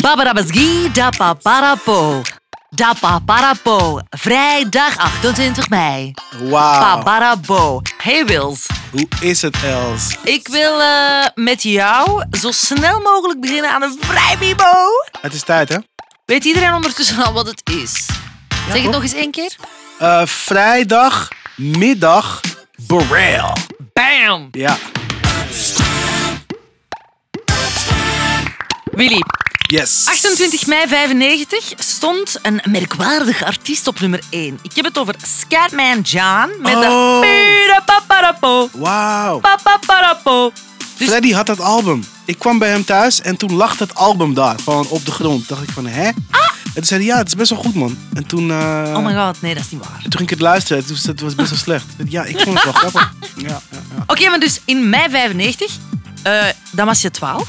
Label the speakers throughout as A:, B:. A: Babarabasgi da paparapo. Da paparapo. Vrijdag 28 mei.
B: Wauw.
A: Paparabo. Hey Wils,
B: Hoe is het, Els?
A: ik wil eh, met jou zo snel mogelijk beginnen aan een vrijbibo.
B: Het is tijd, hè?
A: Weet iedereen ondertussen al wat het is? zeg het nog eens één keer.
B: Eh, vrijdag, middag, Borrel.
A: Bam!
B: Ja.
A: Willy,
B: Yes.
A: 28 mei 95 stond een merkwaardig artiest op nummer 1. Ik heb het over Scatman John met
B: Oh.
A: de... Pira paparapo,
B: Wauw.
A: papaparapo. Dus-
B: Freddy had dat album. Ik kwam bij hem thuis en toen lag dat album daar, gewoon op de grond. Dacht ik van, hè? En toen zei hij, ja, het is best wel goed, man. En toen, eh,
A: Ah! Oh my god, nee, dat is niet waar.
B: toen ging ik het luisteren. Toen, het was best wel slecht. Ja, ik vond het wel grappig. Ja, ja, ja.
A: Oké, maar dus in mei 95, eh, dan was je 12.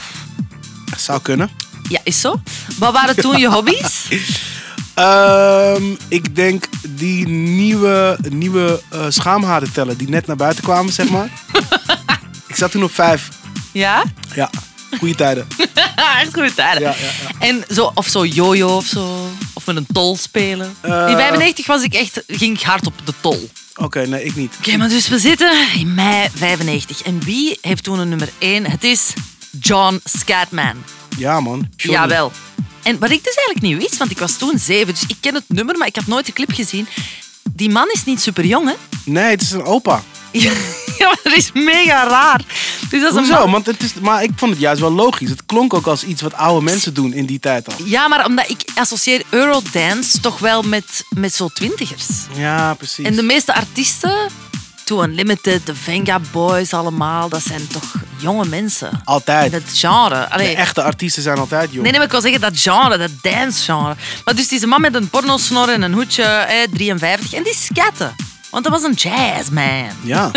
B: Zou kunnen.
A: Ja, is zo. Wat waren toen je hobby's?
B: Ehm, ik denk die nieuwe, nieuwe eh, schaamharen tellen die net naar buiten kwamen, zeg maar. ik zat toen op vijf.
A: Ja?
B: Ja, goede tijden.
A: Echt goed, hè?
B: Ja, ja,
A: En zo, of zo jojo of zo. Of met een tol spelen.
B: Eh.
A: In 95 was ik echt, ging ik hard op de tol.
B: Oké, nee, ik niet.
A: Oké, maar dus we zitten in mei 95. En wie heeft toen een nummer 1? Het is John Scatman.
B: Ja, man. Johnny.
A: Jawel. En wat ik dus eigenlijk niet wist, want ik was toen zeven, dus ik ken het nummer, maar ik had nooit de clip gezien. Die man is niet super jong, hè?
B: Nee, het is een opa.
A: Ja, maar dat is mega raar. Dus dat is een
B: Hoezo?
A: man-
B: Want het is, maar ik vond het juist wel logisch. Het klonk ook als iets wat oude mensen doen in die tijd al.
A: Ja, maar omdat ik associeer Eurodance toch wel met, met zo'n twintigers.
B: Ja, precies.
A: En de meeste artiesten, Too Unlimited, de Venga Boys allemaal, dat zijn toch jonge mensen.
B: Altijd.
A: In het genre.
B: De
A: Allee,
B: echte artiesten zijn altijd jong.
A: Nee, nee, maar ik wil zeggen dat genre, dat dancegenre. Maar dus deze man met een pornosnor en een hoedje, eh, 53, en die scatte. Want dat was een jazzman.
B: Ja,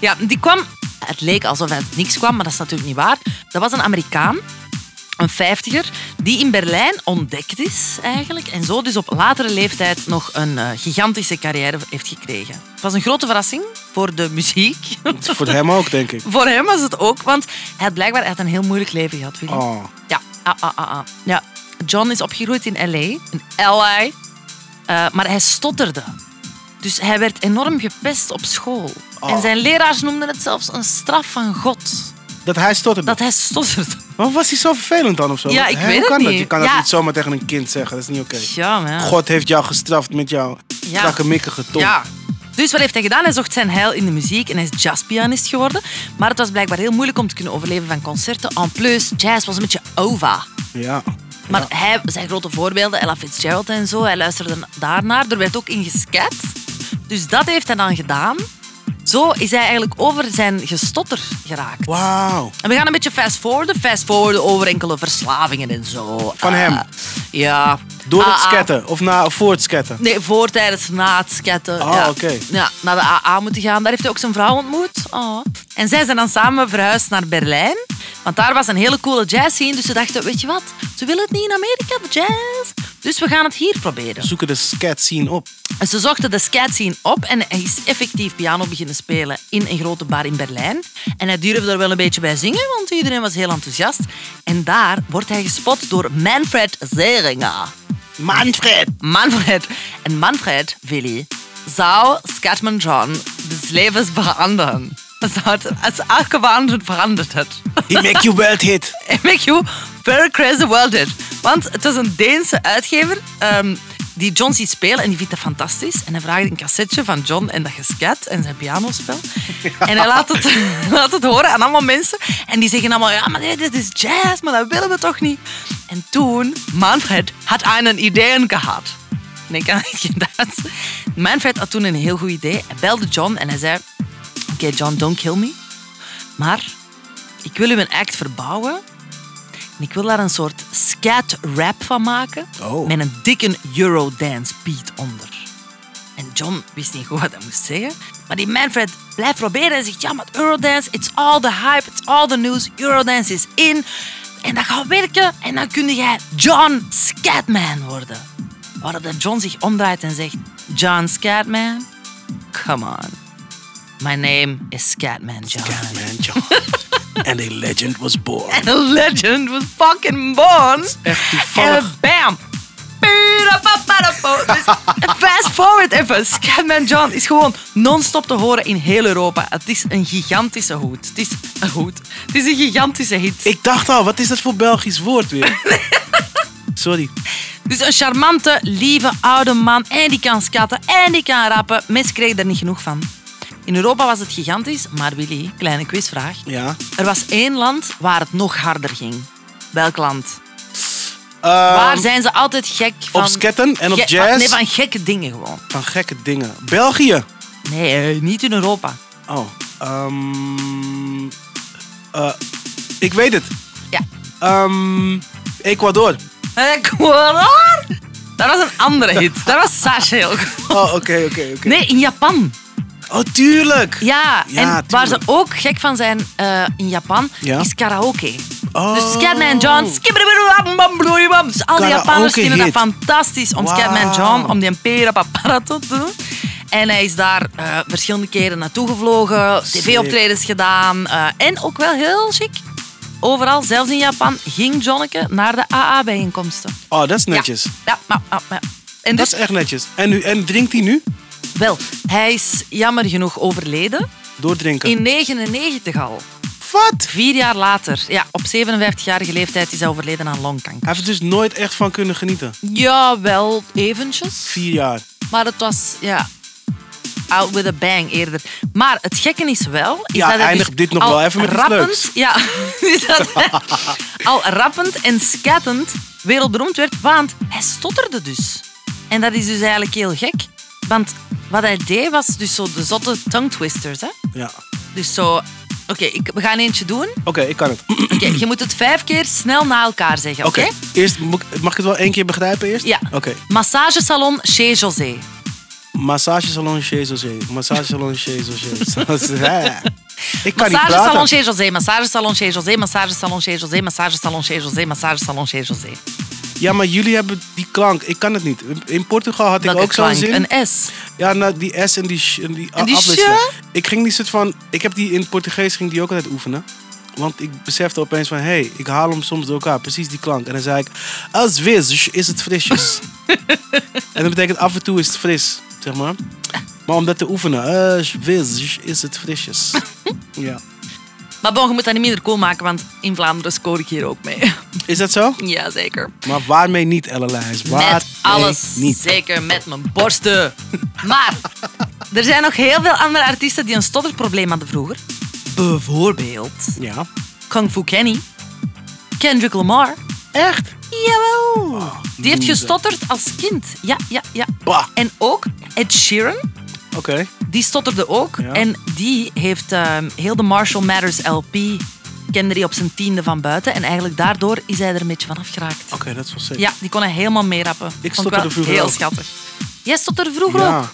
A: Ja, die kwam... Het leek alsof hij uit niks kwam, maar dat is natuurlijk niet waar. Dat was een Amerikaan, een vijftiger, die in Berlijn ontdekt is eigenlijk. En zo dus op latere leeftijd nog een eh, gigantische carrière heeft gekregen. Het was een grote verrassing voor de muziek.
B: het is voor hem ook, denk ik.
A: voor hem was het ook, want hij had blijkbaar echt een heel moeilijk leven gehad. Willy.
B: Oh.
A: Ja, ah, ah, ah, ah. ja. John is opgegroeid in L.A., in L.A., Eh, maar hij stotterde. Dus hij werd enorm gepest op school.
B: Oh.
A: En zijn leraars noemden het zelfs een straf van God.
B: Dat hij stotterde.
A: Dat hij stotterde.
B: Maar was hij zo vervelend dan of zo?
A: Ja,
B: Want,
A: ik
B: hè,
A: weet
B: hoe
A: het
B: kan Dat?
A: niet.
B: Je kan
A: Ja.
B: dat niet zomaar tegen een kind zeggen. Dat is niet oké.
A: Ja, man.
B: God heeft jou gestraft met jouw
A: Ah. Ja.
B: krakkemikkige tong.
A: Ja. Dus wat heeft hij gedaan? Hij zocht zijn heil in de muziek en hij is jazzpianist geworden. Maar het was blijkbaar heel moeilijk om te kunnen overleven van concerten. En plus, jazz was een beetje over.
B: Ja.
A: Maar hij, zijn grote voorbeelden, Ella Fitzgerald en zo, hij luisterde daarnaar. Er werd ook in gesket. Dus dat heeft hij dan gedaan. Zo is hij eigenlijk over zijn gestotter geraakt.
B: Wauw.
A: En we gaan een beetje fast forwarden. Fast forwarden over enkele verslavingen en zo.
B: Van
A: Ah,
B: hem?
A: Ja. Ah,
B: Door het
A: AA.
B: sketten of na, voor het sketten.
A: Nee, voor, tijdens, na het sketten.
B: Ah,
A: ja.
B: oké.
A: Ja, naar de AA moeten gaan. Daar heeft hij ook zijn vrouw ontmoet. Ah. En zij zijn dan samen verhuisd naar Berlijn. Want daar was een hele coole jazz scene. Dus ze dachten, weet je wat? Ze willen het niet in Amerika, de jazz. Dus we gaan het hier proberen.
B: Zoeken de scat scene op.
A: En ze zochten de scat scene op en hij is effectief piano beginnen spelen in een grote bar in Berlijn. En hij durfde er wel een beetje bij zingen, want iedereen was heel enthousiast. En daar wordt hij gespot door Manfred Zeringa.
B: Manfred.
A: Manfred. En Manfred, Willy, zou Scatman John des Lebens verandern. Das hat als afgewandeld veranderd het.
B: He make you world hit.
A: En make you very crazy world it. Want het was een Deense uitgever ehm, die John ziet spelen en die vindt dat fantastisch. En hij vraagt een cassetje van John en dat gesket en zijn pianospel. En hij laat het, laat het horen aan allemaal mensen. En die zeggen allemaal, ja, maar dit, dit is jazz, maar dat willen we toch niet. En toen, Manfred had een idee gehad. En ik kan geen Duits. Manfred had toen een heel goed idee. Hij belde John en hij zei, oké John, don't kill me. Maar ik wil u een act verbouwen. En ik wil daar een soort scat rap van maken.
B: Oh.
A: Met een dikke Eurodance beat onder. En John wist niet goed wat hij moest zeggen. Maar die Manfred blijft proberen en zegt... Ja, maar Eurodance, it's all the hype, it's all the news. Eurodance is in. En dat gaat werken. En dan kun jij John Scatman worden. Waarop dat John zich omdraait en zegt... John Scatman, come on. My name is Scatman John.
B: Man, John. And a legend was born.
A: And a legend was fucking born.
B: Echt toevallig.
A: En bam. Pirapaparapa. Dus fast forward even. Scatman John is gewoon non-stop te horen in heel Europa. Het is een gigantische hoed. Het is een hoed. Het is een gigantische hit.
B: Ik dacht al, wat is dat voor Belgisch woord weer? Sorry.
A: Dus een charmante, lieve, oude man. En die kan skaten en die kan rappen. Mensen kregen er niet genoeg van. In Europa was het gigantisch, maar Willy, kleine quizvraag.
B: Ja.
A: Er was één land waar het nog harder ging. Welk land?
B: Ehm,
A: Waar zijn ze altijd gek van?
B: op sketten en op
A: Ge-
B: jazz.
A: van- Nee, van gekke dingen gewoon.
B: Van gekke dingen. België.
A: Nee, eh, niet in Europa.
B: Oh. ehm, eh, ik weet het.
A: Ja.
B: Ehm, Ecuador.
A: Eh, Ecuador? Dat was een andere hit. Dat was Sasha heel goed.
B: Oh, oké, oké, oké.
A: Nee, in Japan.
B: Oh, tuurlijk.
A: Ja,
B: Ja,
A: en waar ze
B: tuurlijk.
A: ook gek van zijn eh, in Japan,
B: Ja.
A: is karaoke.
B: Oh.
A: Dus Scatman John, skibberibberibam, dus al die
B: Karaoke
A: Japanners vinden dat
B: hit.
A: fantastisch om
B: Wauw.
A: Scatman John, om die pera papara te doen. En hij is daar eh, verschillende keren naartoe gevlogen,
B: Sick.
A: tv-optredens gedaan eh, en ook wel heel chic. Overal, zelfs in Japan, ging Jonneke naar de AA-bijeenkomsten.
B: Oh, dat is netjes.
A: Ja, maar, maar, maar- En
B: Dat
A: dus
B: is echt netjes. En, nu, en drinkt hij nu?
A: wel, hij is jammer genoeg overleden.
B: Doordrinken.
A: In 99 al.
B: Wat?
A: Vier jaar later. Ja, op 57-jarige leeftijd is hij overleden aan longkanker.
B: Hij heeft er dus nooit echt van kunnen genieten.
A: Ja, wel eventjes.
B: Vier jaar.
A: Maar het was, ja... Out with a bang eerder. Maar het gekke is wel... Is
B: Ja,
A: dat hij dus
B: eindigt dit nog
A: al
B: wel even met iets
A: rappend,
B: leuks.
A: Ja, is dat hij al rappend en scattend wereldberoemd werd. Want hij stotterde dus. En dat is dus eigenlijk heel gek. Want wat hij deed was dus zo de zotte tongue twisters. Hè?
B: Ja.
A: Dus zo... Oké, ik- we gaan eentje doen.
B: Oké, ik kan het.
A: Oké, je moet het vijf keer snel na elkaar zeggen, oké?
B: Oké. Eerst, mo- mag ik het wel één keer begrijpen eerst?
A: Ja.
B: Oké.
A: Massagesalon Chez José.
B: Massagesalon Chez José. Massagesalon Chez José. Ja. ik kan niet
A: Massagesalon
B: praten.
A: Chez José, massagesalon Chez José, massagesalon Chez José, massagesalon Chez José, massagesalon Chez José.
B: Ja, maar jullie hebben die klank. Ik kan het niet. In- In Portugal had ik
A: Welke
B: ook zo'n
A: klank?
B: zin.
A: Een S.
B: Ja, nou, die S en die, sh- en die,
A: En die
B: a- afwisselen.
A: sh?
B: Ik ging die soort van... Ik heb die in Portugees ging die ook altijd oefenen. Want ik besefte opeens van... Hé, hey, ik haal hem soms door elkaar. Precies die klank. En dan zei ik... Às vezes is het frisjes. en dat betekent af en toe is het fris. Zeg maar. Maar om dat te oefenen... Às vezes is het frisjes. ja.
A: Maar bon, je moet dat niet minder cool maken, want in Vlaanderen scoor ik hier ook mee.
B: Is dat zo?
A: Jazeker.
B: Maar waarmee niet, Ellen Lijns? Waarmee
A: met alles.
B: niet?
A: Zeker met mijn borsten. Maar er zijn nog heel veel andere artiesten die een stotterprobleem hadden vroeger. Bijvoorbeeld
B: Ja.
A: Kung Fu Kenny, Kendrick Lamar.
B: Echt?
A: Jawel. Die heeft
B: loser.
A: gestotterd als kind. Ja, ja, ja.
B: Ah. Bah.
A: En ook Ed Sheeran,
B: Oké.
A: die stotterde ook.
B: Ja.
A: En die heeft ehm, heel de Marshall Matters LP, kende die op zijn tiende van buiten. En eigenlijk daardoor is hij er een beetje van afgeraakt.
B: Oké, dat is wel zeker.
A: Ja, die kon hij helemaal meerappen. Vond
B: stotterde
A: wel
B: vroeger
A: Heel
B: ook.
A: schattig. Jij stotterde vroeger ook?
B: Ja.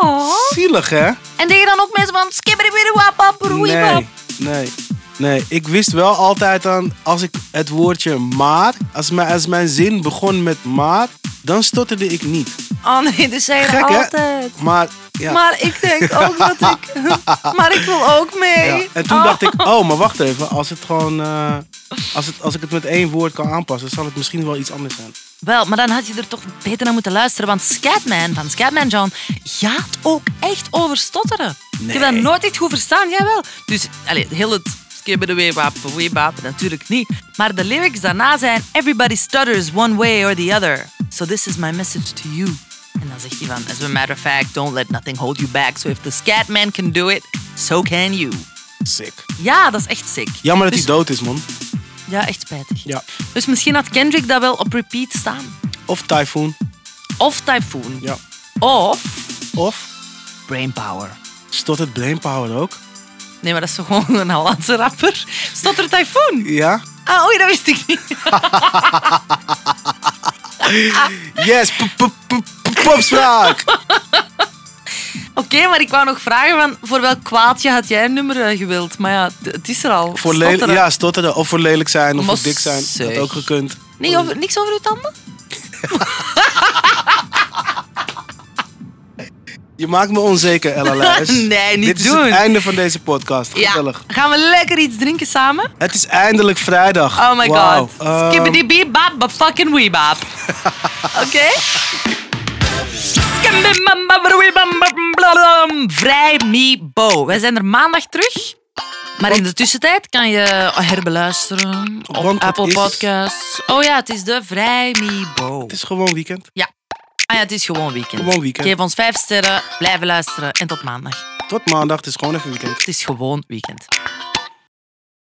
A: Oh.
B: Zielig, hè?
A: En deed je dan ook mensen van...
B: Nee,
A: skibberibberibwapapperoeibap?
B: nee, nee. Ik wist wel altijd aan, als ik het woordje maar, als mijn, als mijn zin begon met maar, dan stotterde ik niet.
A: Oh nee, dus zei je
B: Gek, hè?
A: altijd.
B: Maar, ja.
A: Maar ik denk ook dat ik... maar ik wil ook mee.
B: ja. En toen
A: Oh.
B: dacht ik, oh, maar wacht even. Als, het gewoon, eh, als, het, als ik het met één woord kan aanpassen, zal het misschien wel iets anders zijn.
A: Wel, maar dan had je er toch beter naar moeten luisteren. Want Scatman van Scatman John gaat ook echt over stotteren. Ik heb dat
B: Nee.
A: nooit echt goed verstaan. Jawel. Dus allez, heel het skibbedeweewapen, weewapen natuurlijk niet. Maar de lyrics daarna zijn... Everybody stutters one way or the other. So this is my message to you. En dan zegt hij van... As a matter of fact, don't let nothing hold you back. So if the Scatman can do it, so can you.
B: Sick.
A: Ja, dat is echt sick.
B: Jammer dat
A: Dus-
B: hij dood is, man.
A: Ja, echt spijtig.
B: Ja.
A: Dus misschien had Kendrick dat wel op repeat staan.
B: Of Typhoon.
A: Of Typhoon.
B: Ja.
A: Of
B: Of
A: Brainpower.
B: stottert Brainpower ook?
A: Nee, maar dat is toch gewoon een Hollandse rapper? Stotter Typhoon.
B: Ja.
A: Ah, oei, dat wist ik niet.
B: Yes, p- p- p- popspraak.
A: Oké, maar ik wou nog vragen van voor welk kwaadje had jij een nummer eh, gewild? Maar ja, t- het is er al.
B: Voor lelijk,
A: Stotteren.
B: ja, stotteren. Of voor lelijk zijn, of
A: Maar
B: voor dik zijn. Dat
A: zeg.
B: ook gekund.
A: Nee, over, niks over uw tanden?
B: Je maakt me onzeker, Ella Lijs.
A: Nee, niet
B: Dit is
A: doen.
B: het einde van deze podcast.
A: Ja.
B: Gezellig.
A: Gaan we lekker iets drinken samen?
B: Het is eindelijk vrijdag.
A: Oh my
B: Wauw.
A: god.
B: Ehm,
A: Skibbidi bebop, but fucking weebop. Oké? Skibidi-bam-bam-bam-bam-bam-blam. Vrij Mibo. Wij zijn er maandag terug. Maar in de tussentijd kan je herbeluisteren op
B: Want het
A: Apple
B: is-
A: Podcasts. Oh ja, het is de Vrij Mibo.
B: Het is gewoon weekend.
A: Ah ja, het is gewoon weekend.
B: Gewoon weekend.
A: Geef ons vijf sterren, blijven luisteren en tot maandag.
B: Tot maandag. Het is gewoon even weekend.
A: Het is gewoon weekend.